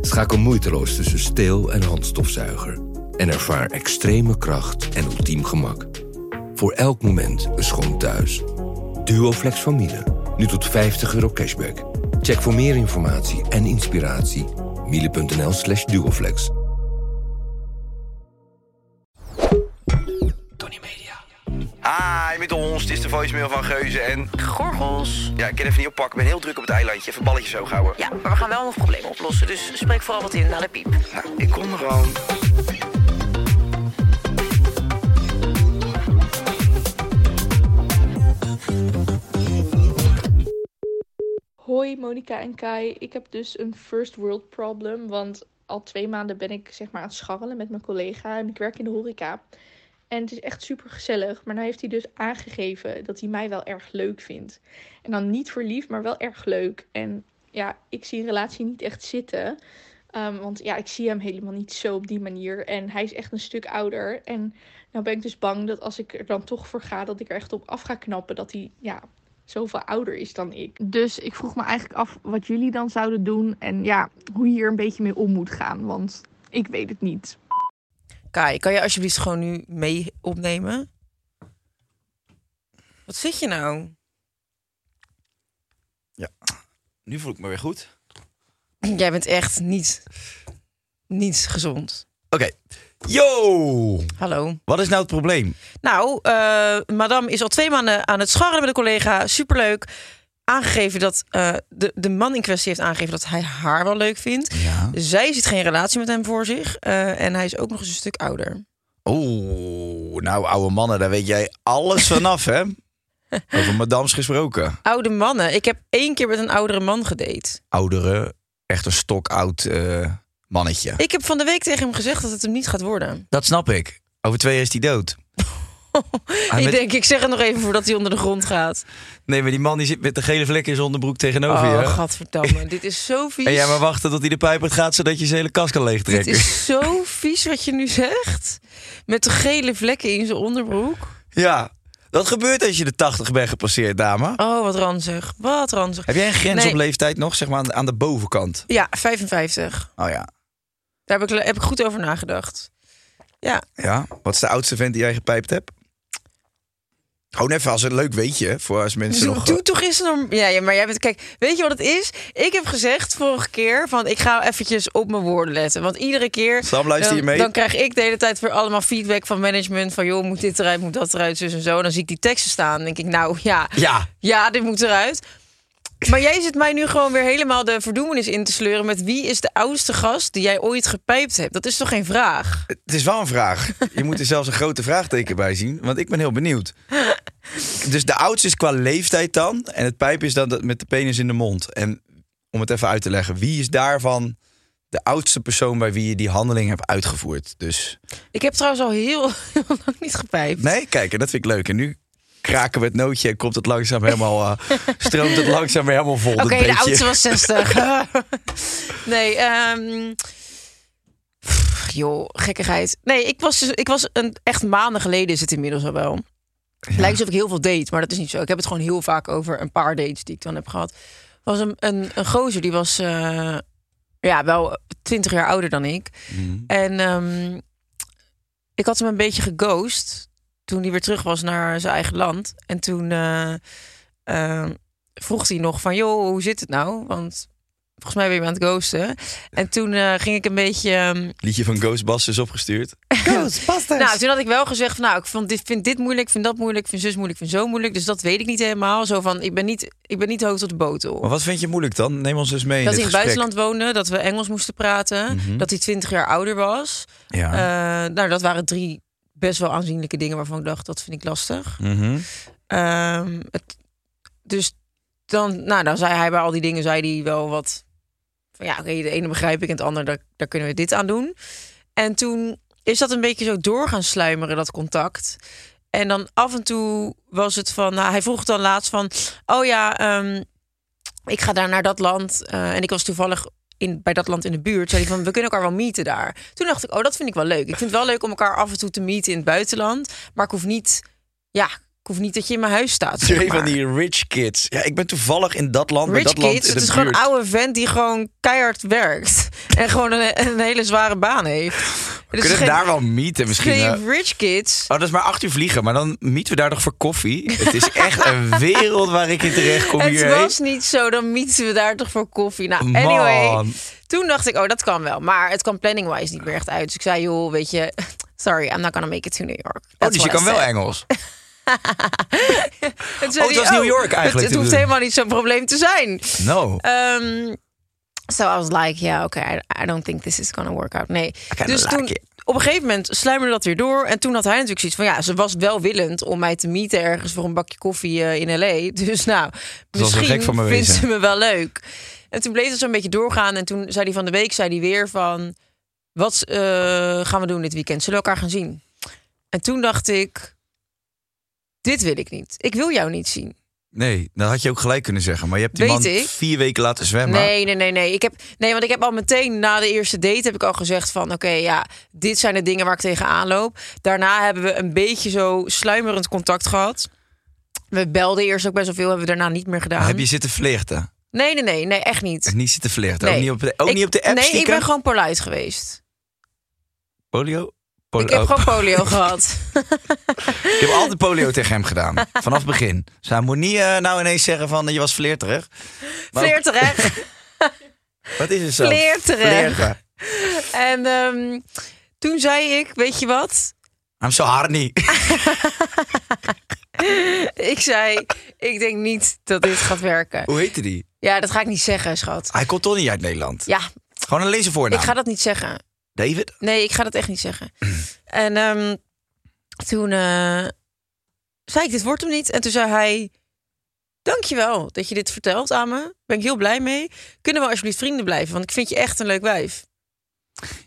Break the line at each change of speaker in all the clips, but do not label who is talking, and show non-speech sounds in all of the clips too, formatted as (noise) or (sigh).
Schakel moeiteloos tussen steel- en handstofzuiger en ervaar extreme kracht en ultiem gemak. Voor elk moment een schoon thuis. Duoflex van Miele, nu tot 50 euro cashback. Check voor meer informatie en inspiratie miele.nl slash duoflex.
Hi, met ons. Dit is Ah, de voicemail van Geuze en...
Gorgels.
Ja, ik kan even niet oppakken. Ik ben heel druk op het eilandje. Even balletjes zo houden.
Ja, maar we gaan wel nog problemen oplossen. Dus spreek vooral wat in naar de piep.
Nou, ik kom er al.
Hoi Monika en Kai. Ik heb dus een first world problem. Want al twee maanden ben ik zeg maar aan het scharrelen met mijn collega. En ik werk in de horeca. En het is echt super gezellig. Maar nou heeft hij dus aangegeven dat hij mij wel erg leuk vindt. En dan niet voor lief, maar wel erg leuk. En ja, ik zie een relatie niet echt zitten. Ehm, want ja, ik zie hem helemaal niet zo op die manier. En hij is echt een stuk ouder. En nou ben ik dus bang dat als ik er dan toch voor ga, dat ik er echt op af ga knappen. Dat hij ja, zoveel ouder is dan ik. Dus ik vroeg me eigenlijk af wat jullie dan zouden doen. En ja, hoe je hier een beetje mee om moet gaan. Want ik weet het niet.
Kai, kan je alsjeblieft gewoon nu mee opnemen? Wat zit je nou?
Nu voel ik me weer goed.
Jij bent echt niet, niet gezond.
Oké. Yo!
Hallo.
Wat is nou het probleem?
Nou, eh, madame is al twee maanden aan het scharrelen met een collega. Superleuk. Aangegeven dat eh, de, de man in kwestie heeft aangegeven dat hij haar wel leuk vindt.
Ja.
Zij ziet geen relatie met hem voor zich. eh, en hij is ook nog eens een stuk ouder.
Oeh, nou oude mannen, daar weet jij alles vanaf, hè? Over madams gesproken.
Oude mannen. Ik heb één keer met een oudere man gedate.
Oudere, echt een stokoud eh, mannetje.
Ik heb van de week tegen hem gezegd dat het hem niet gaat worden.
Dat snap ik. Over twee jaar is die
(laughs)
dood. Hij
ik
Ah, met-
denk, ik zeg het nog even voordat hij onder de grond gaat.
Nee, maar die man die zit met de gele vlek in zijn onderbroek tegenover
oh,
je. (laughs)
gadverdamme. dit is zo vies.
En jij maar wachten tot hij de pijp uit gaat, zodat je zijn hele kast kan
dit
leegtrekken.
is zo vies wat je nu zegt. Met de gele vlekken in zijn onderbroek.
Ja, dat gebeurt als je de 80 bent gepasseerd, Eh, dame.
Oh, wat ranzig. Wat ranzig.
Heb jij een grens
Nee.
op leeftijd nog, zeg maar aan de, aan de bovenkant?
Ja, 55.
Oh ja.
Daar heb ik, heb ik goed over nagedacht. Ja,
Ja, wat is de oudste vent die jij gepijpt hebt? Gewoon even als een leuk weetje, hè, voor als mensen
doe,
nog...
doe toch eens norm- Ja, ja, maar jij bent... Kijk, weet je wat het is? Ik heb gezegd vorige keer van... ik ga eventjes op mijn woorden letten. Want iedere keer...
eh, Sam, luister je
dan,
mee?
dan krijg ik de hele tijd weer allemaal feedback van management... van joh, moet dit eruit, moet dat eruit, zus en zo. En dan zie ik die teksten staan dan denk ik... nou ja,
Ja,
ja, dit moet eruit. Maar jij zit mij nu gewoon weer helemaal de verdoemenis in te sleuren... met wie is de oudste gast die jij ooit gepijpt hebt? Dat is toch geen vraag?
het is wel een vraag. Je moet er zelfs een grote vraagteken bij zien, want ik ben heel benieuwd. Dus de oudste is qua leeftijd dan, en het pijp is dan dat met de penis in de mond. En om het even uit te leggen, wie is daarvan de oudste persoon bij wie je die handeling hebt uitgevoerd? Dus
Ik heb trouwens al heel, (laughs) heel lang niet gepijpt.
Nee, kijk, en dat vind ik leuk. En nu kraken we het nootje en komt het langzaam helemaal,
(laughs)
eh, stroomt het langzaam weer helemaal vol.
Oké,
dat
de
beetje.
oudste was 60. (laughs) nee, ehm, pff, joh, gekkigheid. Nee, ik was, dus- ik was een, echt maanden geleden is het inmiddels al wel. Lijkt alsof ik heel veel date, maar dat is niet zo. Ik heb het gewoon heel vaak over een paar dates die ik dan heb gehad. was een, een, een gozer, die was eh, ja, wel 20 jaar ouder dan ik.
Mhm.
En ehm, ik had hem een beetje geghost toen hij weer terug was naar zijn eigen land. En ehm, toen eh, eh, vroeg hij nog van, joh, hoe zit het nou? Want Volgens mij ben je me aan het ghosten. En toen eh, ging ik een beetje... ehm,
Liedje van Ghostbusters opgestuurd. Ghostbusters!
Nou, toen had ik wel gezegd van, nou, ik vond dit, vind dit moeilijk, vind dat moeilijk, vind zus moeilijk, vind zo moeilijk. Dus dat weet ik niet helemaal. Zo van, ik ben niet, ik ben niet hoog tot de botel.
Maar wat vind je moeilijk dan? Neem ons eens mee in
dat
dit
hij in het
gesprek.
buitenland woonde, dat we Engels moesten praten,
Mhm.
dat hij 20 jaar ouder was.
Ja.
Eh, nou, dat waren drie best wel aanzienlijke dingen waarvan ik dacht, dat vind ik lastig.
Mhm.
Ehm, het, dus dan, nou, dan zei hij bij al die dingen, zei hij wel wat van ja, oké, de ene begrijp ik en het ander, daar, daar kunnen we dit aan doen. En toen is dat een beetje zo door gaan sluimeren, dat contact. En dan af en toe was het van, nou, hij vroeg dan laatst van, oh ja, ehm, ik ga daar naar dat land. eh, en ik was toevallig in, bij dat land in de buurt. Zei hij van, we kunnen elkaar wel meeten daar. Toen dacht ik, oh, dat vind ik wel leuk. Ik vind het wel leuk om elkaar af en toe te meeten in het buitenland. Maar ik hoef niet, ja, ik hoef niet dat je in mijn huis staat. zeg
Twee van
maar.
die rich kids. Ja, ik ben toevallig in dat land, bij
Rich
dat land
Kids,
in de
het is
buurt.
gewoon een oude vent die gewoon keihard werkt. (laughs) En gewoon een, een hele zware baan heeft. Dus
We kunnen daar wel meeten misschien. eh.
geen rich kids.
Oh, dat is maar acht uur vliegen, maar dan mieten we daar nog voor koffie. Het is
(laughs)
echt een wereld waar ik in terecht kom
het
hierheen.
was niet zo, dan mieten we daar toch voor koffie. Nou,
Oh, Man.
anyway. Toen dacht ik, oh, dat kan wel. Maar het kan planning-wise niet meer echt uit. Dus ik zei, joh, weet je... Sorry, I'm not gonna make it to New York.
Oh,
That's
dus je
what
kan
I
wel
said.
Engels.
En toen zei
het was
hij,
New
oh,
York eigenlijk,
Het, het
je
hoeft
bedoelt.
helemaal niet zo'n probleem te zijn.
No.
Ehm, so I was like, yeah, okay, I, I don't think this is gonna work out. Nee.
kinda
Dus
like
toen,
it.
op een gegeven moment sluimerde dat weer door. En toen had hij natuurlijk zoiets van, ja, ze was wel willend om mij te meeten ergens voor een bakje koffie eh, in L.A. (laughs) Dus nou,
wel gek
misschien
van me
vindt
wezen.
ze me wel leuk. En toen bleef het zo'n beetje doorgaan. En toen zei hij van de week, zei hij weer van, wat eh, gaan we doen dit weekend? Zullen we elkaar gaan zien? En toen dacht ik, dit wil ik niet. Ik wil jou niet zien.
Nee, dat had je ook gelijk kunnen zeggen. Maar je hebt die
Weet
man
ik.
vier weken laten zwemmen.
Nee, nee, nee, nee. Ik heb, nee, want ik heb al meteen na de eerste date heb ik al gezegd van... oké, ja, dit zijn de dingen waar ik tegenaan loop. Daarna hebben we een beetje zo sluimerend contact gehad. We belden eerst ook best wel veel, hebben we daarna niet meer gedaan.
Heb je zitten flirten?
Nee, nee, nee, nee, echt niet.
Niet zitten flirten?
Nee.
Ook niet op de, ook
Ik-
niet op de app
Nee, ik
stiekem?
ben gewoon polite geweest.
Polio? Pol-
ik heb
oh,
gewoon
(laughs)
polio gehad.
ik heb altijd polio tegen hem gedaan. Vanaf het begin. Dus hij moet niet eh, nou ineens zeggen van je was flirterig. Maar- (laughs)
Flirterig.
Wat is het zo?
Flirterig.
Flirten.
En ehm, toen zei ik, weet je wat? (laughs)
I'm so horny.
Ik zei, ik denk niet dat dit gaat werken.
Hoe heette die?
Ja, dat ga ik niet zeggen, schat.
Hij komt toch niet uit Nederland?
Ja,
Gewoon alleen zijn voornaam.
ik ga dat niet zeggen.
David?
Nee, ik ga dat echt niet zeggen. (clears throat) en ehm, toen eh, zei ik, dit wordt hem niet. En toen zei hij, dankjewel dat je dit vertelt aan me. Ben ik heel blij mee. Kunnen we alsjeblieft vrienden blijven? Want ik vind je echt een leuk wijf.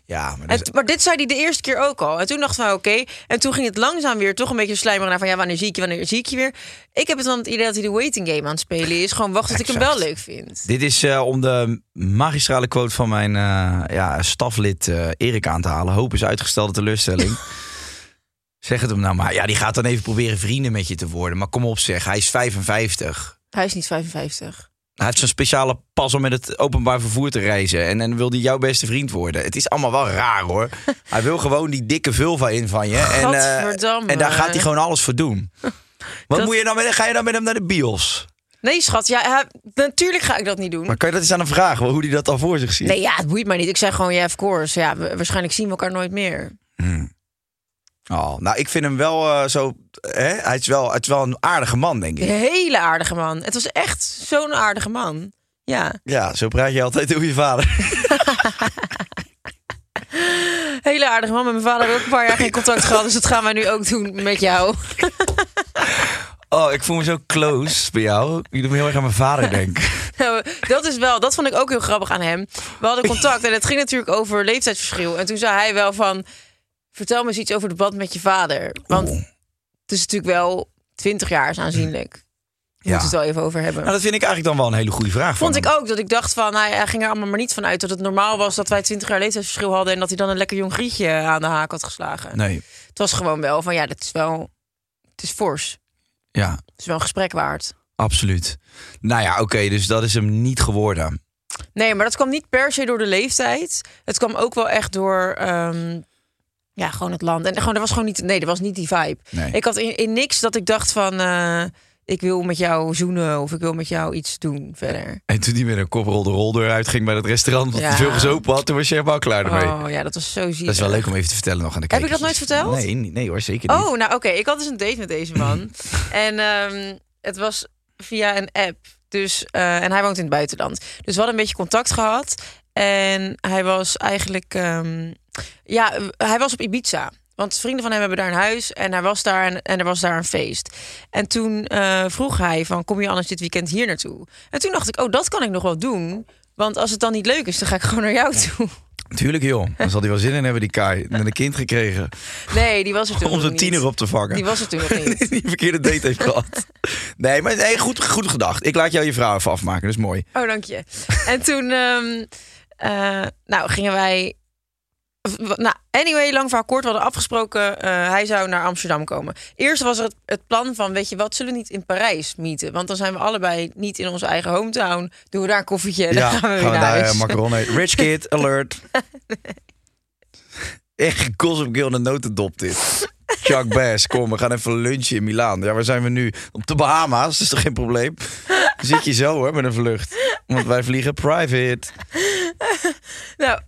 Ja, maar dat
En,
is-
t- maar dit zei hij de eerste keer ook al. En toen dachten we, oké. En toen ging het langzaam weer toch een beetje slijmeren naar van... ja, wanneer zie ik je, wanneer zie ik je weer? Ik heb het dan het idee dat hij de waiting game aan het spelen is. Gewoon wacht tot ik hem wel
Exact.
leuk vind.
Dit is eh, om de magistrale quote van mijn eh, ja, staflid eh, Erik aan te halen. Hoop is uitgestelde teleurstelling. zeg het hem nou maar. Ja, die gaat dan even proberen vrienden met je te worden. Maar kom op zeg, hij is 55.
Hij is niet 55.
Hij heeft zo'n speciale pas om met het openbaar vervoer te reizen. En, en wil hij jouw beste vriend worden. Het is allemaal wel raar hoor. Hij wil gewoon die dikke vulva in van je. En, eh,
Gadverdamme.
en daar gaat hij gewoon alles voor doen. Wat
Dat-
moet je dan met, ga je dan met hem naar de bios?
Nee, schat. Ja, hij- natuurlijk ga ik dat niet doen.
Maar kan je dat eens aan hem vragen, hoe hij dat dan voor zich ziet?
Nee, ja, het boeit mij niet. Ik zeg gewoon, ja, of course. Ja, wa- waarschijnlijk zien we elkaar nooit meer.
Oh, nou, ik vind hem wel eh, zo. Hè? Hij, is wel, het is wel een aardige man, denk ik.
Een hele aardige man. Het was echt zo'n aardige man. Ja,
Ja, zo praat je altijd over je vader.
hele aardige man. Met mijn vader heb ik ook een paar jaar geen contact gehad. Dus dat gaan wij nu ook doen met jou.
Oh, ik voel me zo (laughs) close bij jou. Ik doe me heel erg aan mijn vader (laughs) denken.
Nou, Dat is wel, dat vond ik ook heel grappig aan hem. We hadden contact en het ging natuurlijk over leeftijdsverschil. En toen zei hij wel van, vertel me eens iets over de band met je vader. Want
Oeh.
het is natuurlijk wel 20 jaar is aanzienlijk. We
Ja.
moeten het wel even over hebben.
Nou, dat vind ik eigenlijk dan wel een hele goede vraag.
Vond
van
ik ook dat ik dacht van, nou hij, hij ging er allemaal maar niet van uit dat het normaal was dat wij 20 jaar leeftijdsverschil hadden en dat hij dan een lekker jong grietje aan de haak had geslagen.
hem. Nee,
Het was gewoon wel van, ja, dat is wel, het is fors.
ja,
Het is wel een gesprek waard.
absoluut. Nou ja, oké, dus dat is hem niet geworden.
Nee, maar dat kwam niet per se door de leeftijd. Het kwam ook wel echt door, ehm, ja, gewoon het land. En gewoon, er was gewoon niet, nee, er was niet die vibe.
Nee.
Ik had in, in niks dat ik dacht van, eh, ik wil met jou zoenen of ik wil met jou iets doen verder.
En toen die met een koprol de roldeur uitging bij dat restaurant, wat
Ja.
te veel gezopen had, toen was je helemaal klaar ermee.
Oh ja, dat was zo zielig.
Dat is wel leuk om even te vertellen nog aan de
Heb ik
kijkers.
dat nooit verteld?
Nee, nee, nee hoor, zeker niet.
Oh, nou oké. Ik had dus een date met deze
(laughs)
man. en ehm, het was via een app. Dus, eh, en hij woont in het buitenland. Dus we hadden een beetje contact gehad. En hij was eigenlijk... ehm, ja, eh, hij was op Ibiza. Want vrienden van hem hebben daar een huis. En hij was daar en, en er was daar een feest. En toen eh, vroeg hij van... Kom je anders dit weekend hier naartoe? En toen dacht ik, oh, dat kan ik nog wel doen. Want als het dan niet leuk is, dan ga ik gewoon naar jou
(laughs)
toe.
Tuurlijk joh, dan zal hij wel zin in hebben die Kai. Met een kind gekregen,
Nee, die was er toen
om
nog
zijn
niet.
tiener op te vangen.
Die was er toen
(laughs)
nog niet.
die verkeerde date heeft gehad. Nee, maar nee, goed, goed gedacht. Ik laat jou je vraag even afmaken, dat is mooi.
Oh, dank je. En toen, ehm, eh, nou, gingen wij. w- w- Nou, anyway, lang verhaal kort. We hadden afgesproken, eh, hij zou naar Amsterdam komen. Eerst was er het, het plan van, weet je wat, zullen we niet in Parijs mieten? Want dan zijn we allebei niet in onze eigen hometown. Doen we daar een koffietje en
ja,
dan gaan we weer naar
daar
huis.
eh, macaron eten.
(laughs)
Rich kid, alert. Echt Gossip Girl in een notendop dit. Chuck Bass, kom, we gaan even lunchen in Milaan. Ja, waar zijn we nu? Op de Bahama's, dat is toch geen probleem? Zit je zo hoor, met een vlucht. Want wij vliegen private.
Nou,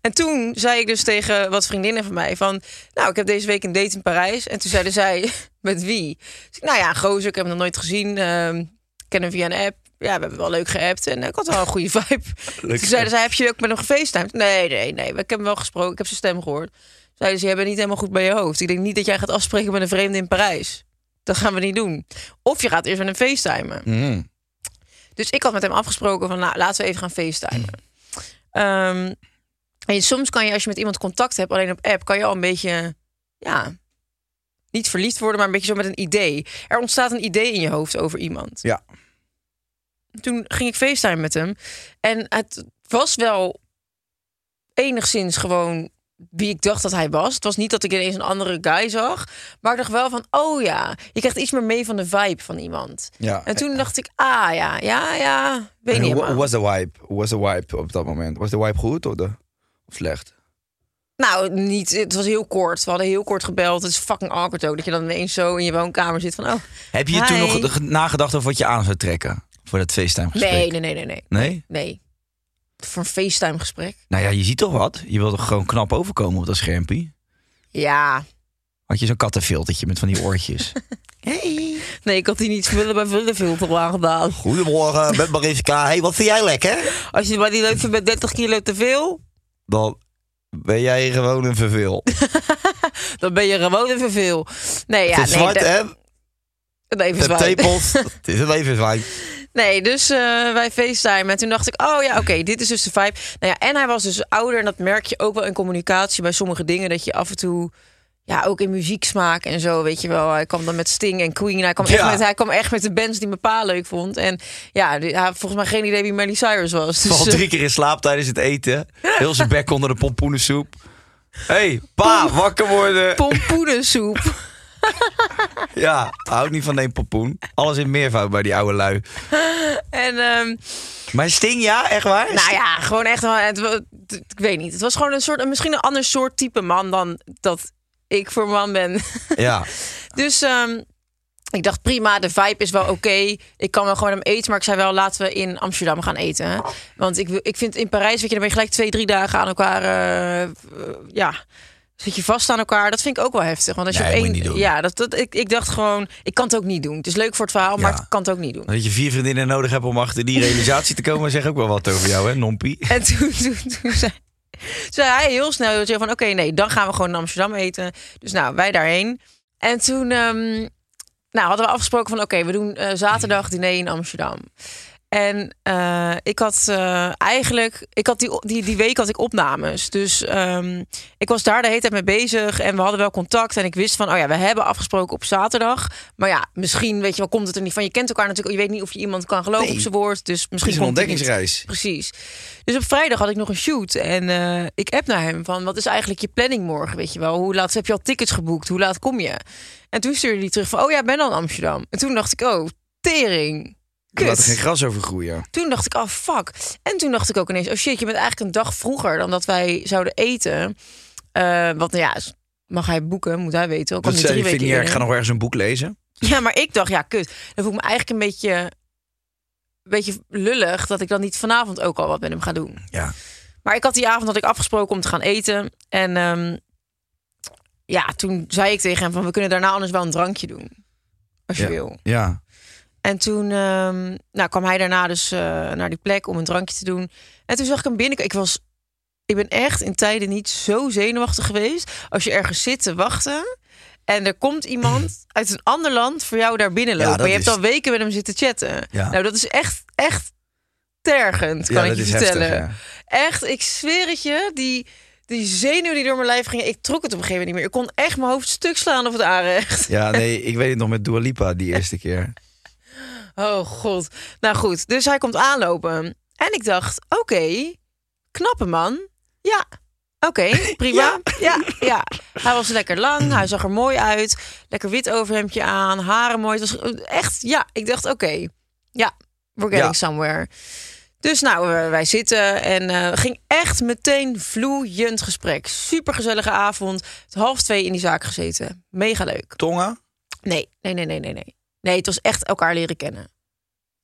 en toen zei ik dus tegen wat vriendinnen van mij van... Nou, ik heb deze week een date in Parijs. En toen zeiden zij, (laughs) met wie? Dus ik, nou ja, een gozer, ik heb hem nog nooit gezien. ehm, ik ken hem via een app. Ja, we hebben wel leuk geappt en eh, ik had wel een goede (laughs) vibe.
Leuk.
Toen zeiden zij, heb je ook met hem gefacetimed? Nee, nee, nee, ik heb hem wel gesproken, ik heb zijn stem gehoord. Zeiden ze, jij bent niet helemaal goed bij je hoofd. Ik denk niet dat jij gaat afspreken met een vreemde in Parijs. Dat gaan we niet doen. Of je gaat eerst met hem facetimen.
Mm.
Dus ik had met hem afgesproken van, nou, laten we even gaan facetimen. Ehm, en soms kan je, als je met iemand contact hebt, alleen op app, kan je al een beetje, ja, niet verliefd worden, maar een beetje zo met een idee. Er ontstaat een idee in je hoofd over iemand.
Ja.
Toen ging ik facetimen met hem. En het was wel enigszins gewoon wie ik dacht dat hij was. Het was niet dat ik ineens een andere guy zag. Maar ik dacht wel van, oh ja, je krijgt iets meer mee van de vibe van iemand.
Ja.
En toen dacht ik, ah ja, ja, ja. Weet
En
niet
hoe, hoe
helemaal.
was de wipe? Hoe was de wipe op dat moment? Was de wipe goed of, de, of slecht?
Nou, niet, het was heel kort. We hadden heel kort gebeld. Het is fucking awkward ook. Dat je dan ineens zo in je woonkamer zit van, oh.
Heb je toen
Hi.
nog ge- nagedacht over wat je aan zou trekken? Voor dat FaceTime gesprek?
Nee, nee, nee, nee, nee.
Nee?
Nee. Voor een FaceTime gesprek.
Nou ja, je ziet toch wat? Je wilt toch gewoon knap overkomen op dat schermpie?
Ja.
Had je zo'n kattenfiltertje met van die
(laughs)
oortjes?
Nee, ik had die niet vullen bij vullenfilter aangedaan.
Goedemorgen, met Mariska. Hey, wat vind jij lekker?
Als je maar die leuk vindt met 30 kilo te veel,
Dan ben jij gewoon een verveel.
dan ben je gewoon even veel. Nee, ja, nee.
Verzwart,
dat-
hè?
Nee,
Met
verzwart. (laughs)
tepels. Het is een levenswijn.
Nee, dus eh, wij facetimen. En toen dacht ik, oh ja, oké, dit is dus de vibe. Nou ja, en hij was dus ouder. En dat merk je ook wel in communicatie bij sommige dingen. Dat je af en toe, ja, ook in muzieksmaak en zo, weet je wel. Hij kwam dan met Sting en Queen. Hij kwam,
Ja.
echt, met, hij kwam echt met de bands die mijn pa leuk vond. En ja, die- hij had volgens mij geen idee wie Miley Cyrus was. Dus,
Valt
eh,
drie keer in slaap tijdens het eten. Heel zijn bek onder de pompoenensoep. Hé, hey, pa, wakker worden. (laughs)
pompoenensoep.
Ja, houdt niet van één pompoen. Alles in meervoud bij die oude lui.
en ehm,
Maar Sting, ja? Echt waar?
nou ja, gewoon echt wel... Het, wa- het- ik weet niet. Het was gewoon een soort, een- misschien een ander soort type man dan dat ik voor man ben.
Ja.
Dus ehm, ik dacht prima, de vibe is wel oké. Ik kan wel gewoon hem eten, maar ik zei wel laten we in Amsterdam gaan eten. hè. Want ik, wil- ik vind in Parijs, weet je, dan ben je gelijk twee, drie dagen aan elkaar. eh, eh, ja, zit je vast aan elkaar. Dat vind ik ook wel heftig. Want als
Nee,
je op
moet je
één,
niet doen.
ja, dat, dat, ik, ik dacht gewoon, ik kan het ook niet doen. Het is leuk voor het verhaal, maar
Ja.
ik kan het ook niet doen.
Dat je vier vriendinnen nodig hebt om achter die realisatie te komen, zeg ook wel wat over jou, hè, Nompie?
(laughs) En toen, toen, toen zei, toen zei hij heel snel heel chill van... oké, nee, dan gaan we gewoon in Amsterdam eten. Dus nou, wij daarheen. En toen ehm, nou, hadden we afgesproken van... oké, we doen eh, zaterdag diner in Amsterdam. En eh, ik had eh, eigenlijk... Ik had die, die, die week had ik opnames. Dus ehm, ik was daar de hele tijd mee bezig. En we hadden wel contact. En ik wist van, oh ja, we hebben afgesproken op zaterdag. Maar ja, misschien, weet je wel, komt het er niet van. Je kent elkaar natuurlijk. Je weet niet of je iemand kan geloven
Nee.
op zijn woord. Dus misschien
Het is een
komt het niet.
ontdekkingsreis.
Precies. Dus op vrijdag had ik nog een shoot. En eh, ik app naar hem van... wat is eigenlijk je planning morgen, weet je wel? Hoe laat heb je al tickets geboekt? Hoe laat kom je? En toen stuurde hij terug van... oh ja, ik ben al in Amsterdam. En toen dacht ik, oh, tering.
Je laat er geen
Kut.
gras over groeien.
Toen dacht ik, oh fuck. En toen dacht ik ook ineens... oh shit, je bent eigenlijk een dag vroeger... dan dat wij zouden eten. Eh want nou ja, mag hij boeken, moet hij weten. Al kwam
Wat
hij
zei je,
drie
vind je
weken
niet erg,
eerder.
ik ga nog wel ergens een boek lezen.
Ja, maar ik dacht, ja, kut. Dan voel ik me eigenlijk een beetje, een beetje lullig dat ik dan niet vanavond ook al wat met hem ga doen.
Ja.
Maar ik had die avond had ik afgesproken om te gaan eten. En ehm, ja, toen zei ik tegen hem van we kunnen daarna anders wel een drankje doen. Als je wil.
Ja.
En toen ehm, nou, kwam hij daarna dus eh, naar die plek om een drankje te doen. En toen zag ik hem binnen. Ik was. Ik ben echt in tijden niet zo zenuwachtig geweest. Als je ergens zit te wachten. En er komt
(clears throat)
iemand uit een ander land voor jou daar binnen
Ja,
lopen.
dat
en je
is-
hebt al weken met hem zitten chatten.
Ja.
Nou, dat is echt, echt tergend, kan
ja, dat
ik je
is
vertellen.
heftig. ja.
Echt, ik zweer het je. Die, die zenuwen die door mijn lijf gingen, ik trok het op een gegeven moment niet meer. Ik kon echt mijn hoofd stuk slaan op het aanrecht.
Ja,
(laughs)
nee, ik weet het nog met Dua Lipa die eerste keer.
Oh god. Nou goed, dus hij komt aanlopen. En ik dacht, oké, knappe man. Ja, oké, prima. Ja. ja, Hij was lekker lang, hij zag er mooi uit. Lekker wit overhemdje aan, haren mooi. Het was echt, ja, ik dacht, oké. Ja, we're getting
Ja.
somewhere. Dus nou, eh, wij zitten en eh, ging echt meteen vloeiend gesprek. Supergezellige avond. Half twee in die zaak gezeten. Mega leuk.
Tonga?
Nee, nee, nee, nee, nee, nee. Nee, het was echt elkaar leren kennen.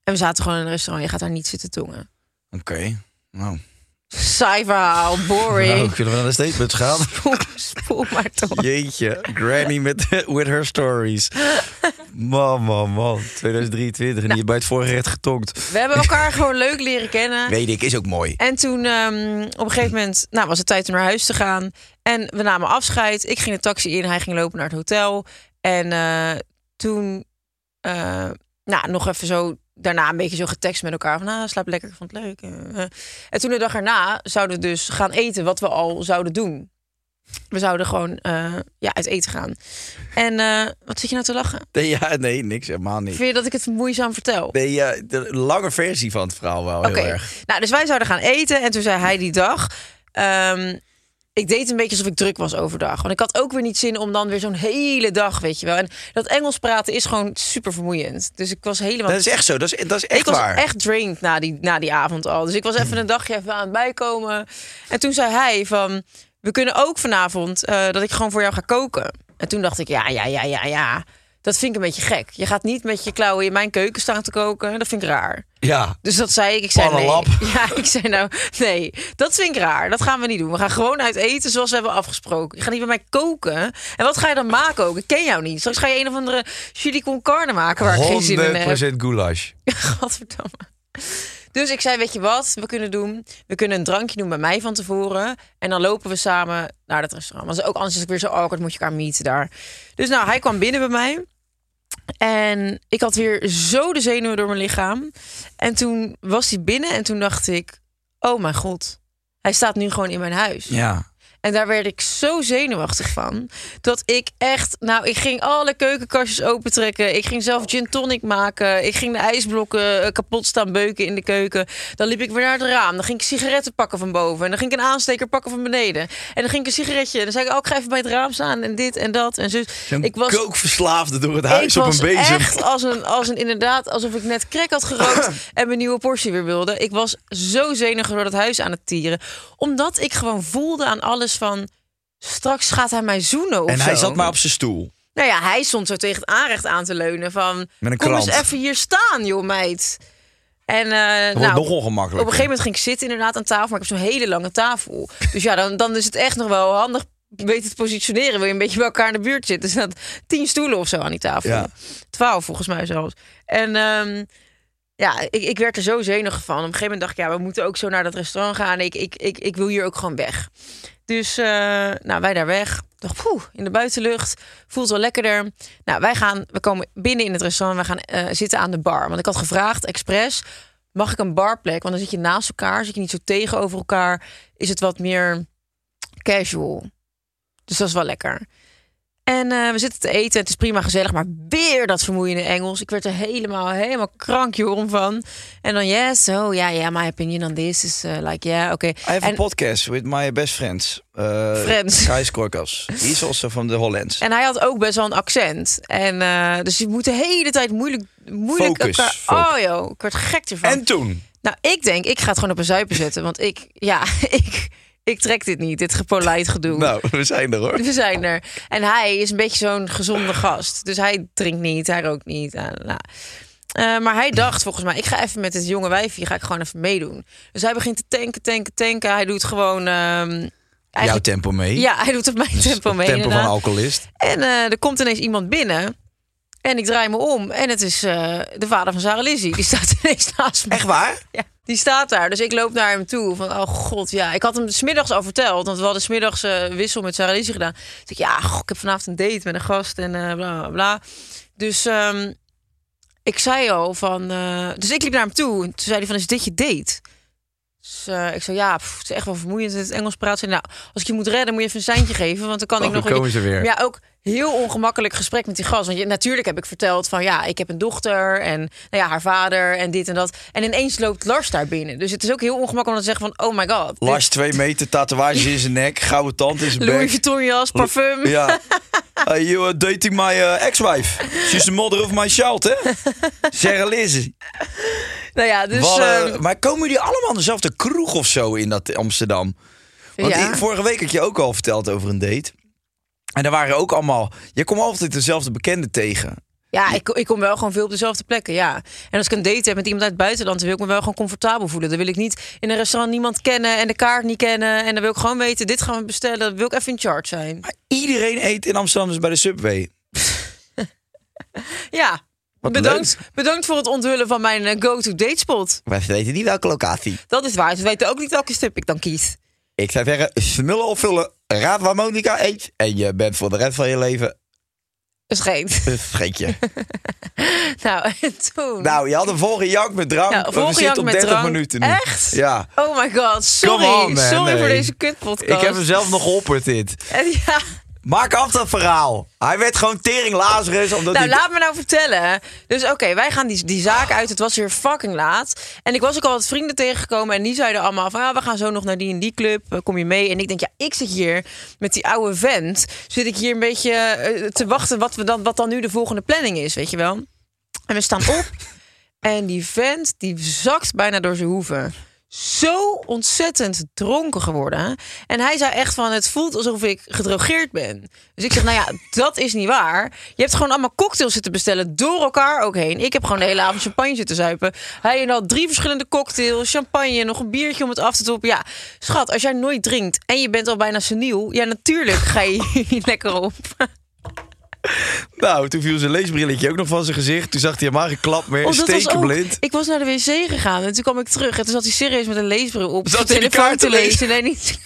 En we zaten gewoon in een restaurant. Je gaat daar niet zitten tongen.
Oké. Nou.
Saai verhaal,
nou,
boring.
kunnen we naar de statements gaan?
Spoel, spoel maar (laughs) toch.
Jeetje, Granny met (laughs) with her stories. Man, man, man. 2023 en die je bij het vorige recht getonkt.
We hebben elkaar gewoon leuk leren kennen.
Weet ik, is ook mooi.
En toen ehm, op een gegeven moment nou, was het tijd om naar huis te gaan. En we namen afscheid. Ik ging de taxi in, hij ging lopen naar het hotel. En eh, toen eh, nou, nog even zo daarna een beetje zo getekst met elkaar. Van, ah, slaap lekker, ik vond het leuk. eh, eh. En toen de dag erna zouden we dus gaan eten wat we al zouden doen. We zouden gewoon eh, ja, uit eten gaan. En eh, wat zit je nou te lachen?
Nee, ja, nee, niks, helemaal niet.
Vind je dat ik het moeizaam vertel?
Nee, ja, de lange versie van het verhaal wel
Oké.
heel erg.
Nou, dus wij zouden gaan eten. En toen zei hij die dag. ehm, ik deed een beetje alsof ik druk was overdag. Want ik had ook weer niet zin om dan weer zo'n hele dag, weet je wel. En dat Engels praten is gewoon super vermoeiend. Dus ik was helemaal.
Dat is echt zo, dat is, dat is echt
ik was
waar.
echt drained na die, na die avond al. Dus ik was even een dagje even aan het bijkomen. En toen zei hij van... We kunnen ook vanavond eh, dat ik gewoon voor jou ga koken. En toen dacht ik, ja, ja, ja, ja, ja. Dat vind ik een beetje gek. Je gaat niet met je klauwen in mijn keuken staan te koken. Dat vind ik raar.
Ja,
Dus dat zei ik. Ik zei nee.
Pannenlap.
(laughs) Ja, ik zei nou nee. Dat vind ik raar. Dat gaan we niet doen. We gaan gewoon uit eten zoals we hebben afgesproken. Je gaat niet bij mij koken. En wat ga je dan maken ook? Ik ken jou niet. Straks ga je een of andere chili con carne maken waar ik geen zin in heb.
100% goulash.
(laughs) Godverdamme. Dus ik zei, weet je wat we kunnen doen? We kunnen een drankje doen bij mij van tevoren. En dan lopen we samen naar dat restaurant. Want ook anders is ik weer zo awkward, moet je elkaar meeten daar. Dus nou, hij kwam binnen bij mij. En ik had weer zo de zenuwen door mijn lichaam. En toen was hij binnen en toen dacht ik... Oh mijn god, hij staat nu gewoon in mijn huis.
Ja.
En daar werd ik zo zenuwachtig van. Dat ik echt. Nou, ik ging alle keukenkastjes opentrekken. Ik ging zelf gin tonic maken. Ik ging de ijsblokken eh, kapot staan beuken in de keuken. Dan liep ik weer naar het raam. Dan ging ik sigaretten pakken van boven. En dan ging ik een aansteker pakken van beneden. En dan ging ik een sigaretje. En dan zei ik, oh, ik ga even bij het raam staan. En dit en dat. En zus.
Ik
Ik was
kookverslaafde door het huis
ik
op
was
een bezem.
echt als een, als een inderdaad, alsof ik net crack had
(clears throat)
gerookt en mijn nieuwe portie weer wilde. Ik was zo zenuwachtig door dat huis aan het tieren. Omdat ik gewoon voelde aan alles van, straks gaat hij mij zoenen of
En hij
zo.
zat maar op zijn stoel.
Nou ja, hij stond zo tegen het aanrecht aan te leunen van,
Met een
kom eens
krant.
even hier staan joh meid. En, eh
Dat wordt
nou,
nog ongemakkelijker.
op een gegeven moment ging ik zitten inderdaad aan tafel, maar ik heb zo'n hele lange tafel. Dus ja, dan, dan is het echt nog wel handig weten te positioneren. Wil je een beetje bij elkaar in de buurt zitten. Er staan tien stoelen of zo aan die tafel.
Ja.
Twaalf volgens mij zelfs. En ehm, ja, ik, ik werd er zo zenuwig van. Op een gegeven moment dacht ik, ja, we moeten ook zo naar dat restaurant gaan. Ik, ik, ik, ik wil hier ook gewoon weg. Dus eh, nou, wij daar weg. Dacht, poeh, in de buitenlucht. Voelt wel lekkerder. Nou, wij gaan, we komen binnen in het restaurant. We gaan eh, zitten aan de bar. Want ik had gevraagd, expres, mag ik een barplek? Want dan zit je naast elkaar, zit je niet zo tegenover elkaar. Is het wat meer casual. Dus dat is wel lekker. En eh, we zitten te eten, het is prima gezellig, maar weer dat vermoeiende Engels. Ik werd er helemaal, helemaal krankje om van. En dan yes, oh ja, ja, my opinion on this is eh, like, yeah, oké.
I have a
En-
podcast with my best friends. Uh,
Friends.
Kai Skorkas. Die is also van de Hollands.
En hij had ook best wel een accent. En, eh, dus je moet de hele tijd moeilijk, moeilijk
Focus,
elkaar...
focus.
Oh joh, ik werd gek ervan.
En toen?
Nou, ik denk, ik ga het gewoon op een zuipen zetten. Want ik, ja, (laughs) ik, ik trek dit niet, dit gepolite gedoe.
Nou, we zijn er hoor.
(laughs) We zijn er. En hij is een beetje zo'n gezonde gast. Dus hij drinkt niet, hij rookt niet. Ah, nou. Eh, maar hij dacht volgens mij, ik ga even met dit jonge wijfje, ga ik gewoon even meedoen. Dus hij begint te tanken, tanken, tanken. Hij doet gewoon... ehm,
Jouw
eigenlijk-
tempo mee.
ja, hij doet op mijn tempo mee.
Tempo van
inderdaad.
een alcoholist.
En eh, er komt ineens iemand binnen. En ik draai me om. En het is eh, de vader van Sarah Lizzie. Die staat (laughs) ineens naast me.
Echt waar?
Ja, die staat daar. Dus ik loop naar hem toe. Van, oh god, ja. Ik had hem smiddags al verteld. Want we hadden smiddags eh wissel met Sarah Lizzie gedaan. Dus ik, ja, goh, ik heb vanavond een date met een gast. En eh, bla, bla, bla. Dus ehm, ik zei al van... eh, dus ik liep naar hem toe. En toen zei hij van, is dit je date? Dus eh, ik zei, ja, pff, het is echt wel vermoeiend. In het Engels praten. Zei, Nou, als ik je moet redden, moet je even een seintje geven. Want dan kan ik
Oh,
nog...
dan komen ze weer.
Maar ja, ook heel ongemakkelijk gesprek met die gast. Want je, natuurlijk heb ik verteld van ja, ik heb een dochter en nou ja, haar vader en dit en dat. En ineens loopt Lars daar binnen. Dus het is ook heel ongemakkelijk om te zeggen van oh my god. dit-
Lars twee meter, tatoeages in zijn nek, gouden tand in zijn
Louis
bek.
Vuitton jas, parfum. (laughs)
Ja. Hey, you are dating my eh, ex-wife. She's the mother of my child,
(laughs)
hè? Sarah Liz.
Nou ja, dus
Wat, eh,
ehm,
maar komen jullie allemaal aan dezelfde kroeg of zo in dat Amsterdam? Want
ja.
ik- vorige week had je ook al verteld over een date. En daar waren ook allemaal... Je komt altijd dezelfde bekenden tegen.
ja ik, ik kom wel gewoon veel op dezelfde plekken, ja. En als ik een date heb met iemand uit het buitenland, dan wil ik me wel gewoon comfortabel voelen. Dan wil ik niet in een restaurant niemand kennen en de kaart niet kennen. En dan wil ik gewoon weten, dit gaan we bestellen. Dan wil ik even in charge zijn.
Maar iedereen eet in Amsterdam dus bij de Subway.
Ja,
Wat
bedankt, bedankt voor het onthullen van mijn eh, go-to date spot.
Wij weten niet welke locatie.
Dat is waar. Ze weten ook niet welke stip ik dan kies.
Ik zou zeggen, smullen opvullen. Raad waar Monica eet. En je bent voor de rest van je leven
Een scheet.
een scheetje.
(laughs) Nou, en toen.
nou, je had een volgende jank met drank.
Ja,
we
volgejakt
zitten op
met
30
drank.
minuten nu.
Echt?
Ja.
Oh my god,
Come
sorry.
on, man.
Sorry voor
Nee.
deze kutpodcast.
Ik heb hem zelf nog geopperd dit.
En ja,
Maak af dat verhaal. Hij werd gewoon tering Lazarus. Omdat
nou,
hij...
laat me nou vertellen. Dus oké, wij gaan die, die zaak uit. Het was weer fucking laat. En ik was ook al wat vrienden tegengekomen. En die zeiden allemaal van, ja, we gaan zo nog naar die en die club. Eh, Kom je mee? En ik denk, ja, ik zit hier met die oude vent. Zit ik hier een beetje eh, te wachten wat, we dan, wat dan nu de volgende planning is, weet je wel? En we staan op. En die vent die zakt bijna door zijn hoeven. Zo ontzettend dronken geworden. En hij zei echt van, het voelt alsof ik gedrogeerd ben. Dus ik zeg, nou
(laughs)
ja, dat is niet waar. Je hebt gewoon allemaal cocktails zitten bestellen, door elkaar ook heen. Ik heb gewoon de hele avond champagne zitten zuipen. Hij en al drie verschillende cocktails, champagne, nog een biertje om het af te toppen. Ja, schat, als jij nooit drinkt en je bent al bijna seniel... ja, natuurlijk ga je (laughs) hier lekker op.
Nou, toen viel zijn leesbrilletje ook nog van zijn gezicht. Toen zag hij helemaal geen klap meer.
Oh, dat was ook-
Stekenblind.
Ik was naar de wc gegaan en toen kwam ik terug. En toen zat hij serieus met een leesbril op.
Zat hij
zijn
die
telefoon
kaart te lezen?
Nee, niet.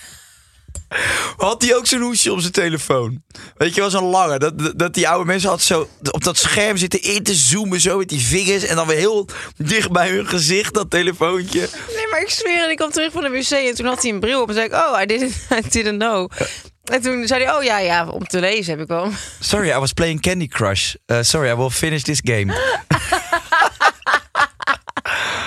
Had hij ook zo'n hoesje op zijn telefoon? Weet je, was een lange. Dat, dat- dat die oude mensen had zo op dat scherm zitten in te zoomen. Zo met die vingers. En dan weer heel dicht bij hun gezicht, dat telefoontje.
Nee, maar ik zweer. En ik kwam terug van de wc en toen had hij een bril op. En zei ik, oh, I didn't, (laughs) I didn't know. En toen zei hij, oh ja, ja, om te lezen heb ik wel. (laughs)
Sorry, I was playing Candy Crush. Uh, sorry, I will finish this game. (laughs)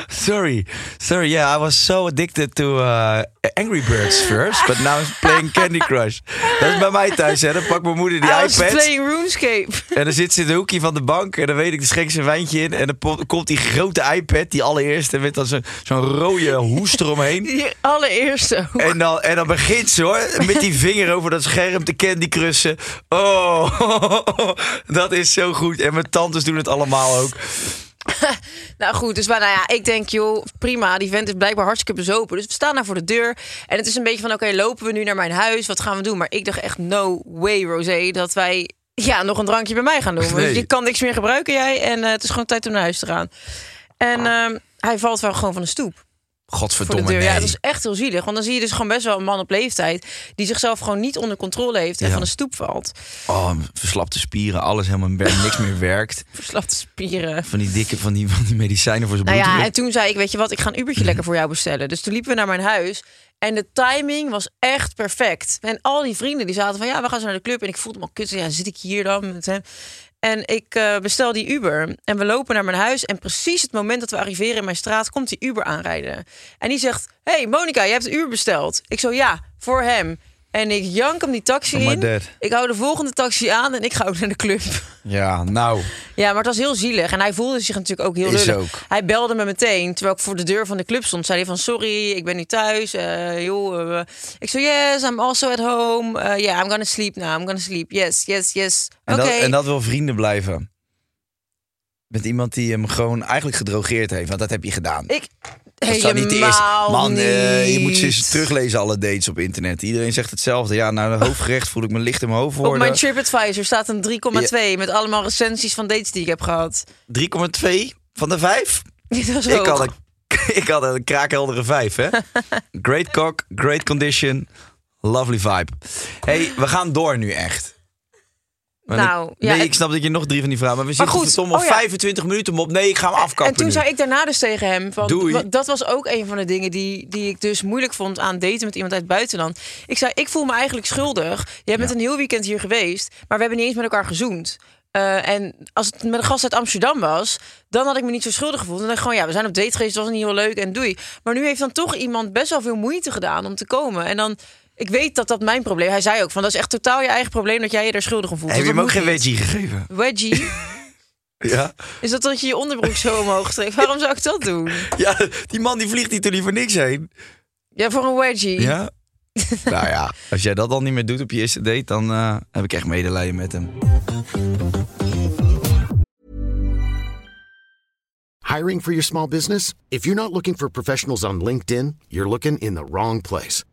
sorry, sorry. Yeah, I was so addicted to uh, Angry Birds first, but now I'm playing Candy Crush. Dat is bij mij thuis, hè? Dan pakt mijn moeder die
I was
iPad.
playing RuneScape. (laughs)
En dan zit ze in de hoekje van de bank en dan weet ik, dan schenk ze een wijntje in. En dan po- komt die grote iPad, die allereerste, met dan zo'n zo'n rode hoest eromheen.
(laughs) Die allereerste.
En dan, en dan begint ze hoor, met die vinger over dat scherm te candy crussen. Oh, (laughs) dat is zo goed. En mijn tantes doen het allemaal ook.
Nou goed, dus maar, nou ja, ik denk, joh, prima. Die vent is blijkbaar hartstikke bezopen. Dus we staan daar voor de deur. En het is een beetje van, oké, lopen we nu naar mijn huis? Wat gaan we doen? Maar ik dacht echt, no way, Rosé, dat wij ja, nog een drankje bij mij gaan doen.
Nee.
Want je kan niks meer gebruiken, jij. En eh, het is gewoon tijd om naar huis te gaan. En ehm, hij valt wel gewoon van de stoep voor de
Ah. Godverdomme,
deur. Ja,
nee.
dat is echt heel zielig. Want dan zie je dus gewoon best wel een man op leeftijd... die zichzelf gewoon niet onder controle heeft... en
Ja.
van de stoep valt.
Oh, verslapte spieren, alles helemaal wer- niks meer werkt.
Verslapte spieren.
Van die dikke, van die, van die medicijnen voor zijn
Nou ja, en
bloeddruk.
toen zei ik, weet je wat, ik ga een Ubertje lekker voor jou bestellen. Dus toen liepen we naar mijn huis en de timing was echt perfect. En al die vrienden die zaten van, ja, we gaan zo naar de club. En ik voelde me al kut, ja, zit ik hier dan met hem? En ik eh, bestel die Uber en we lopen naar mijn huis. En precies het moment dat we arriveren in mijn straat, komt die Uber aanrijden. En die zegt, hey Monica, je hebt een Uber besteld. Ik zo, ja, voor hem.
En ik jank hem die taxi
From my
in.
dad.
Ik hou de volgende taxi aan en ik ga ook naar de club.
Ja, nou.
Ja, maar het was heel zielig. En hij voelde zich natuurlijk ook heel
Is
lullig.
ook.
Hij belde me meteen, terwijl ik voor de deur van de club stond. Zei hij van, sorry, ik ben nu thuis. eh, joh, eh, eh." ik zei, yes, I'm also at home. Eh, yeah, I'm gonna sleep now. I'm gonna sleep. Yes, yes, yes.
En,
Oké.
dat, en dat wil vrienden blijven. Met iemand die hem gewoon eigenlijk gedrogeerd heeft. Want dat heb je gedaan.
Ik
dat zou niet de eerste-
helemaal
Man, eh, je moet ze eens
niet.
teruglezen alle dates op internet. Iedereen zegt hetzelfde. Ja, nou,
(laughs)
de hoofdgerecht voel ik me licht in mijn hoofd
Op mijn
worden. 3,2?
TripAdvisor staat een 3,2 met allemaal recensies van dates die ik heb gehad. (laughs)
van de vijf?
Dat is
Ik
ook.
had, een, (laughs) ik had een kraakheldere vijf,
(laughs)
hè? Great cock, great condition, lovely vibe. hey, we gaan door nu echt. Maar
Nou,
ik,
ja,
nee,
het-
ik snap dat je nog drie van die vragen... maar we
Maar
zitten
goed,
verdomme
oh ja.
25 minuten op. Nee, ik ga hem afkappen
En toen
nu.
zei ik daarna dus tegen hem: van,
Doei.
wa- Dat was ook een van de dingen die, die ik dus moeilijk vond aan daten met iemand uit het buitenland. Ik zei: Ik voel me eigenlijk schuldig. Jij bent een heel weekend hier geweest, maar we hebben niet eens met elkaar gezoend. Eh, en als het met een gast uit Amsterdam was, dan had ik me niet zo schuldig gevoeld. En dan gewoon, ja, we zijn op date geweest, het was niet heel leuk en doei. Maar nu heeft dan toch iemand best wel veel moeite gedaan om te komen. En dan, ik weet dat dat mijn probleem. Hij zei ook van, dat is echt totaal je eigen probleem dat jij je daar schuldig om voelt.
Heb je
Want
hem ook
dat
geen
moet niet.
wedgie gegeven?
Wedgie?
Ja.
Is dat dat je je onderbroek zo omhoog trekt? Waarom zou ik dat doen?
ja, die man die vliegt hier toen niet voor niks heen.
Ja, voor een wedgie.
Ja? (laughs) nou ja, als jij dat al niet meer doet op je eerste date... dan eh, heb ik echt medelijden met hem.
Hiring for your small business? If you're not looking for professionals on LinkedIn, you're looking in the wrong place.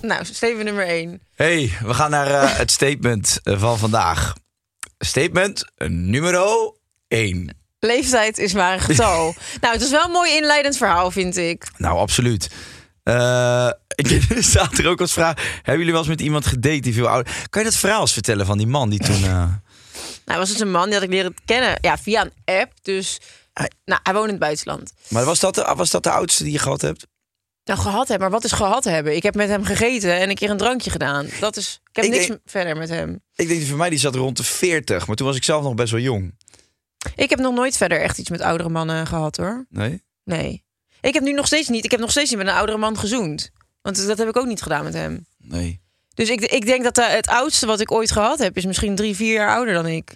Nou, Steven nummer 1.
hey, we gaan naar eh, het statement eh, van vandaag. Statement nummer 1.
Leeftijd is maar een
(laughs)
getal. nou, het is wel een mooi inleidend verhaal, vind ik.
Nou, absoluut. Eh, (laughs) Er staat er ook als vraag: Hebben jullie wel eens met iemand gedate die veel ouder Kan je dat verhaal eens vertellen van die man die toen. eh,
Nou, was het een man die had ik leren kennen ja, via een app. Dus nou, hij woont in het buitenland.
Maar was dat, de, was dat de oudste die je gehad hebt?
Nou, gehad hebben. Maar wat is gehad hebben? Ik heb met hem gegeten en een keer een drankje gedaan. Dat is... Ik heb
Ik
niks
denk-
verder met hem.
Ik denk voor mij die zat rond de 40, maar toen was ik zelf nog best wel jong.
Ik heb nog nooit verder echt iets met oudere mannen gehad, hoor.
Nee?
Nee. Ik heb nu nog steeds niet... Ik heb nog steeds niet met een oudere man gezoend. Want dat heb ik ook niet gedaan met hem.
Nee.
Dus ik, ik denk dat eh, het oudste wat ik ooit gehad heb... is misschien drie, vier jaar ouder dan ik.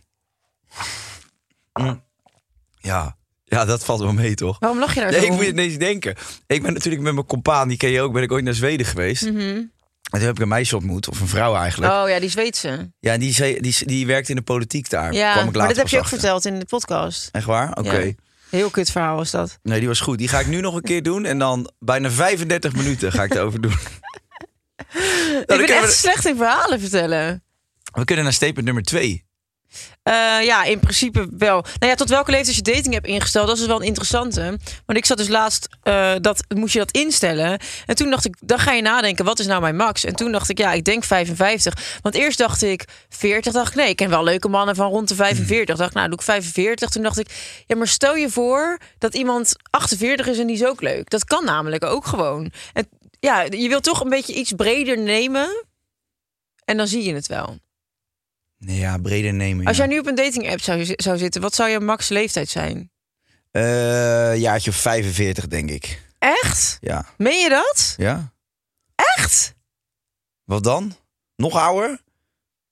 Ja, ja dat valt wel mee toch?
Waarom lach je daar
Nee,
zo
ik
om?
moet je ineens denken. Ik ben natuurlijk met mijn compaan, die ken je ook, ben ik ooit naar Zweden geweest. En toen heb ik een meisje ontmoet, of een vrouw eigenlijk.
Mhm. Oh ja, die Zweedse.
Ja, en die, zei- die, die werkte in de politiek daar.
Ja,
kwam ik
maar
later
dat heb
pas
je ook
achter.
verteld in de podcast.
Echt waar? Oké.
Ja. Heel kut verhaal was dat.
Nee, die was goed. Die ga ik nu nog een keer doen. En dan bijna 35 minuten ga ik erover doen.
(laughs)
Nou, dan
ik ben
kunnen
echt
we,
slecht in verhalen vertellen.
we kunnen naar statement nummer 2.
Eh, ja, in principe wel. Nou ja, tot welke leeftijd je dating hebt ingesteld, dat is wel een interessante. Want ik zat dus laatst, eh, dat moest je dat instellen. En toen dacht ik, dan ga je nadenken, wat is nou mijn max? En toen dacht ik, ja, ik denk 55. Want eerst dacht ik 40, dacht ik, nee, ik ken wel leuke mannen van rond de 45. Dacht ik, nou, doe ik 45. Toen dacht ik, ja, maar stel je voor dat iemand 48 is en die is ook leuk. Dat kan namelijk ook gewoon. En ja, je wilt toch een beetje iets breder nemen. En dan zie je het wel.
Nee, ja, breder nemen. Ja.
Als jij nu op een dating app zou, zou zitten, wat zou je max leeftijd zijn?
Eh, jaartje of 45, denk ik.
Echt?
Ja.
Meen je dat?
ja.
Echt?
Wat dan? Nog ouder?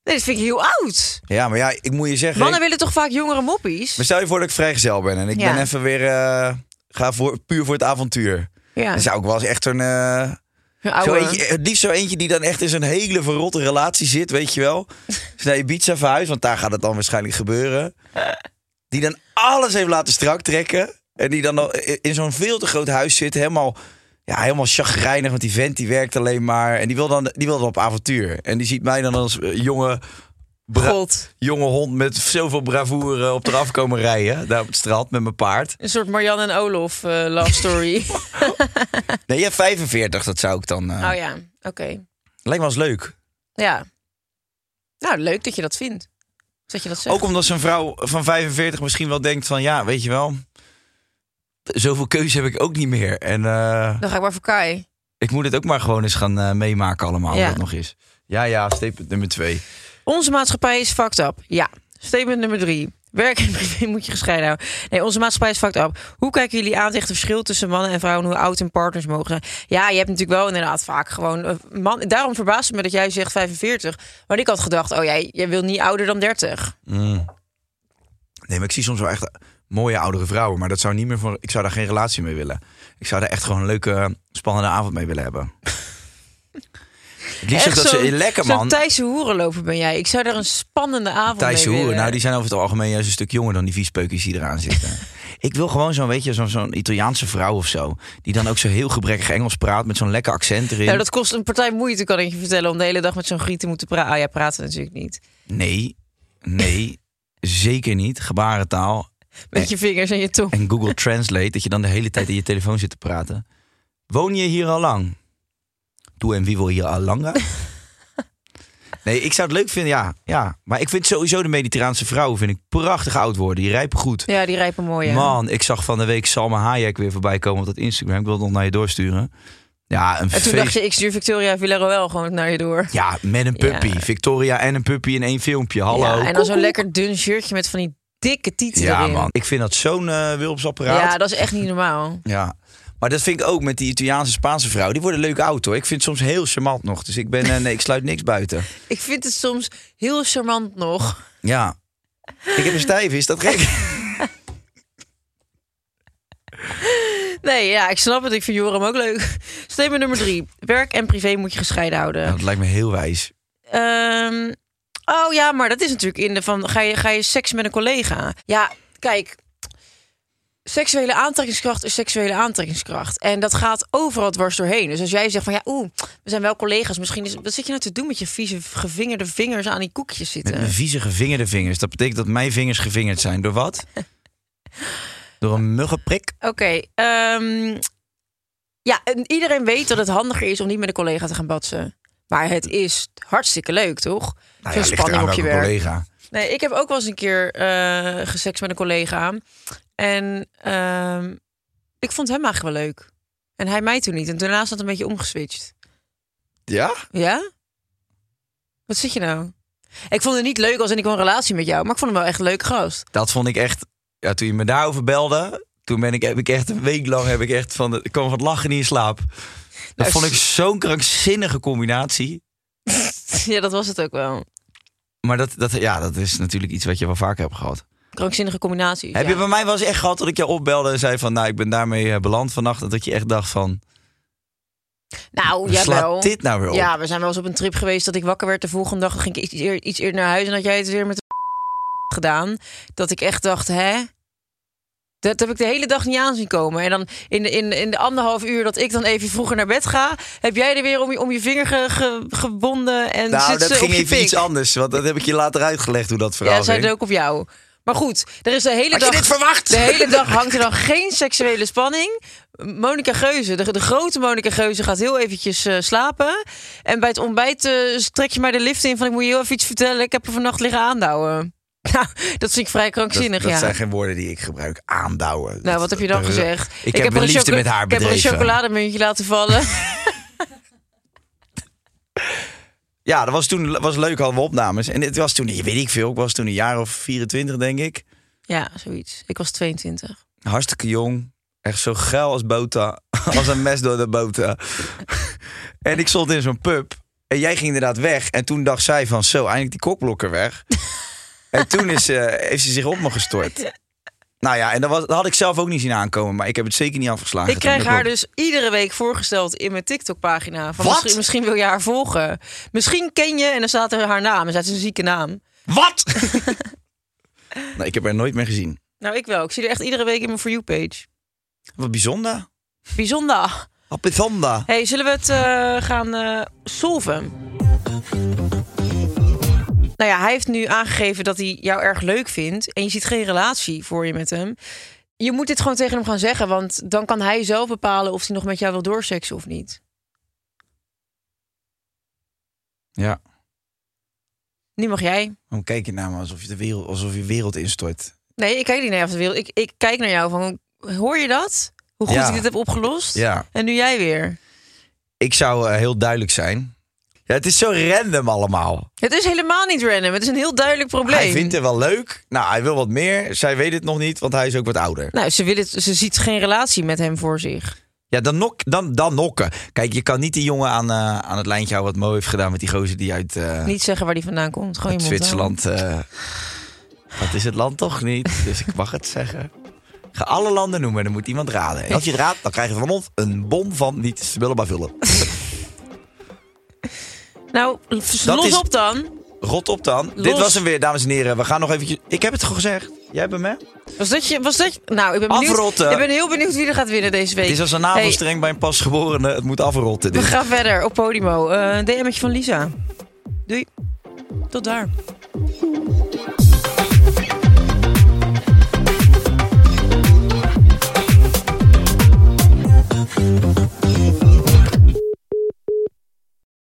Nee, dat vind ik heel oud.
Ja, maar ja, ik moet je zeggen...
Mannen
ik-
willen toch vaak jongere moppies?
Maar stel je voor dat ik vrijgezel ben. En ik
Ja.
ben even weer... eh, ga voor, puur voor het avontuur.
Ja,
Dan zou ik wel eens echt zo'n... eh,
een
Zo
oude.
eentje, het liefst zo eentje die dan echt in zo'n hele verrotte relatie zit, weet je wel. Is naar Ibiza verhuisd, want daar gaat het dan waarschijnlijk gebeuren. Die dan alles heeft laten strak trekken. En die dan al i- in zo'n veel te groot huis zit, helemaal, ja, helemaal chagrijnig. Want die vent die werkt alleen maar. En die wil, dan, die wil dan op avontuur. En die ziet mij dan als eh, jonge, bra-
God.
jonge hond met zoveel bravoure op eraf komen
(laughs)
rijden. Daar op het strand met mijn paard.
Een soort Marianne en Olof eh, love story.
(laughs) Nee, ja, 45, dat zou ik dan... eh,
oh ja, oké.
Lijkt me wel eens leuk.
Ja. Nou, leuk dat je dat vindt. Dat je dat zegt.
Ook omdat zijn vrouw van 45 misschien wel denkt van... Ja, weet je wel, zoveel keuze heb ik ook niet meer. En eh,
Dan ga ik maar voor Kai.
ik moet het ook maar gewoon eens gaan eh, meemaken allemaal,
Ja.
wat nog is. Ja, ja, statement nummer twee.
Onze maatschappij is fucked up. Ja. Statement nummer drie. Werk en privé (laughs) moet je gescheiden houden. Nee, onze maatschappij is fucked up. Hoe kijken jullie aan tegen het verschil tussen mannen en vrouwen... hoe oud hun partners mogen zijn? Ja, je hebt natuurlijk wel inderdaad vaak gewoon... eh, Man, daarom verbaast het me dat jij zegt 45. Want ik had gedacht, oh jij, jij wil niet ouder dan 30.
Mm. Nee, maar ik zie soms wel echt mooie oudere vrouwen. Maar dat zou niet meer voor. Ik zou daar geen relatie mee willen. Ik zou daar echt gewoon een leuke, spannende avond mee willen
(laughs)
hebben. Het liefst ook
Echt
dat ze
zo'n-
lekker
Zo'n
man.
Thijse hoerenloper ben jij. Ik zou daar een spannende avond
Thijs
mee
Hoeren,
willen.
nou die zijn over het algemeen juist een stuk jonger dan die viespeukjes die eraan zitten.
(laughs)
ik wil gewoon zo'n, weet je, zo'n zo'n Italiaanse vrouw of zo. Die dan ook zo heel gebrekkig Engels praat met zo'n lekker accent erin.
Nou, dat kost een partij moeite, kan ik je vertellen... om de hele dag met zo'n griet te moeten praten. Ah ja, praten natuurlijk niet.
Nee, nee, zeker niet. Gebarentaal.
Met je vingers en je tong.
en Google Translate, dat je dan de hele tijd in je telefoon zit te praten. Woon je hier al lang? Doe en wie wil hier al langer?
(laughs)
Nee, ik zou het leuk vinden, ja. ja. Maar ik vind sowieso de Mediterraanse vrouwen vind ik prachtig oud worden. Die rijpen goed.
Ja, die rijpen mooi. hè?
Man, ik zag van de week Salma Hayek weer voorbij komen op dat Instagram. Ik wil het nog naar je doorsturen. Ja, een
En toen dacht
feest.
je, ik stuur Victoria Villarroel gewoon naar je door.
Ja, met een puppy.
Ja.
Victoria en een puppy in één filmpje. Hallo.
Ja, en dan
Koek,
zo'n
koek.
lekker dun shirtje met van die dikke tieten
Ja,
erin.
"Ah, man. Ik vind dat zo'n eh wilpsapparaat.
Ja, dat is echt niet normaal.
Ja. Maar dat vind ik ook met die Italiaanse Spaanse vrouw. Die worden leuk oud hoor. Ik vind het soms heel charmant nog. Dus ik ben, eh, nee, ik sluit niks buiten.
Ik vind het soms heel charmant nog.
Ja. Ik heb een stijf, is dat
(laughs)
gek?
Nee, ja, ik snap het. Ik vind Joram ook leuk. (laughs) Statement nummer drie. Werk en privé moet je gescheiden houden.
Ja, dat lijkt me heel wijs.
Ehm, oh ja, maar dat is natuurlijk in de van ga je, ga je seks met een collega? Ja, kijk. Seksuele aantrekkingskracht is seksuele aantrekkingskracht. En dat gaat overal dwars doorheen. Dus als jij zegt van ja, oeh, we zijn wel collega's. Misschien is, wat zit je nou te doen met je vieze gevingerde vingers aan die koekjes
Met mijn
zitten?
vieze gevingerde vingers. Dat betekent dat mijn vingers gevingerd zijn. Door
(laughs)
wat? Door een muggenprik?
Oké, ehm, ja, en iedereen weet dat het handiger is om niet met een collega te gaan batsen. Maar het is hartstikke leuk, toch?
Nou
Veel
ja, ligt
spanning
eraan
op je
welke
werk.
collega.
Nee, ik heb ook wel eens een keer eh geseks met een collega. En ehm, ik vond hem eigenlijk wel leuk. En hij mij toen niet. En daarna is dat een beetje omgeswitcht.
Ja?
Ja? Wat zit je nou? Ik vond het niet leuk als en ik wil een relatie met jou. Maar ik vond hem wel echt een leuk gast. (laughs)
Dat vond ik echt... Ja, toen je me daarover belde... Toen ben ik, heb ik echt een week lang heb ik echt van, de- ik kwam van het lachen niet in slaap. Dat
Nou,
vond ik zo'n krankzinnige combinatie.
Ja, dat was het ook wel.
Maar dat, dat, ja, dat is natuurlijk iets wat je wel vaker hebt gehad.
Krankzinnige combinaties.
Heb
ja.
je bij mij wel eens echt gehad dat ik jou opbelde en zei van... nou, ik ben daarmee eh, beland vannacht. En dat je echt dacht van,
Nou,
slaat
jawel.
dit nou weer op?
Ja, we zijn wel eens op een trip geweest dat ik wakker werd de volgende dag. Dan ging ik iets eer- iets eerder naar huis en had jij het weer met de (laughs) gedaan. Dat ik echt dacht, hè? Dat heb ik de hele dag niet aan zien komen. En dan in de, in, in de anderhalf uur dat ik dan even vroeger naar bed ga... heb jij er weer om je, om je vinger ge- ge- gebonden en
nou,
zit
dat
ze
ging
op je
even
pik.
iets anders. Want dat heb ik je later uitgelegd hoe dat verhaal
ja, zij
ging.
deed ook op jou. Maar goed, er is de hele
Had je
dag...
dit verwacht?
De hele dag hangt er dan geen seksuele spanning. Monika Geuze, de, de grote Monika Geuze, gaat heel eventjes eh, slapen. En bij het ontbijt eh, trek je mij de lift in van... ik moet je heel even iets vertellen, ik heb er vannacht liggen aandouwen. (laughs) Nou, dat vind ik vrij
dat,
krankzinnig,
dat
ja.
zijn geen woorden die ik gebruik. Aandouwen.
Nou, wat heb je dan
Dat-
gezegd?
Ik, heb,
er
mijn liefde
choco-
met haar
Ik heb er
bedreven.
een chocolademuntje laten vallen. (laughs)
Ja, dat was toen was leuk, hadden we opnames. En het was toen, weet ik veel, ik was toen een jaar of 24, denk ik.
ja, zoiets. Ik was
Ah,
22.
Hartstikke jong. Echt zo geil als bota. (laughs) Als een mes door de bota. (laughs) en ik stond in zo'n pub. En jij ging inderdaad weg. En toen dacht zij van zo, eindelijk die kokblokker (laughs) weg. en toen is, eh, heeft ze zich op me gestort. Nou ja, en dat, was, dat had ik zelf ook niet zien aankomen. Maar ik heb het zeker niet afgeslagen.
Ik krijg
toen,
haar
dat
dus iedere week voorgesteld in mijn TikTok-pagina. Van
Wat?
Misschien, misschien wil je haar volgen. Misschien ken je, en dan staat er haar naam. En staat een zieke naam.
klopt. (laughs) Wat? nou, ik heb haar nooit meer gezien.
Nou, ik wel. Ik zie er echt iedere week in mijn For You-page.
Wat bijzonder.
Bijzonder.
Wat bijzonder.
hey, zullen we het eh, gaan eh solven? Nou ja, hij heeft nu aangegeven dat hij jou erg leuk vindt. En je ziet geen relatie voor je met hem. Je moet dit gewoon tegen hem gaan zeggen. Want dan kan hij zelf bepalen of hij nog met jou wil doorseksen of niet.
Ja.
Nu mag jij.
Waarom kijk je naar me alsof je de wereld, alsof je wereld instort?
Nee, ik kijk niet naar jou van de wereld. Ik, ik kijk naar jou van, hoor je dat? Hoe goed
Ja.
ik dit heb opgelost?
Ja,
En nu jij weer.
ik zou eh, heel duidelijk zijn. Ja, het is zo random allemaal.
Het is helemaal niet random. Het is een heel duidelijk probleem.
Hij vindt het wel leuk. Nou, hij wil wat meer. Zij weet het nog niet, want hij is ook wat ouder.
Nou, ze, wil het, ze ziet geen relatie met hem voor zich.
Ja, dan, nok, dan, dan nokken. Kijk, je kan niet die jongen aan, eh, aan het lijntje houden wat Mo heeft gedaan met die gozer die uit eh,
Niet zeggen waar die vandaan komt. Gewoon
uit
je mond
Zwitserland. eh dat is het land toch niet? Dus ik mag het zeggen. Ik ga alle landen noemen, dan moet iemand raden. En als je het raadt, dan krijg je van ons een bon van niet spullen maar vullen.
houden. Nou, los
is-
op dan.
Rot op dan. Dit was hem weer, dames en heren. We gaan nog eventjes... Ik heb het gewoon gezegd. Jij bent me?
Was dat je... Was dat je- Nou, ik ben benieuwd...
Afrotten.
Ik ben heel benieuwd wie er gaat winnen deze week.
Het is als een
Hey,
navelstreng bij een pasgeborene. Het moet afrotten.
we
Dit.
gaan verder op Podimo. Eh, Een DM'tje van Lisa. Doei. Tot daar.
Doei.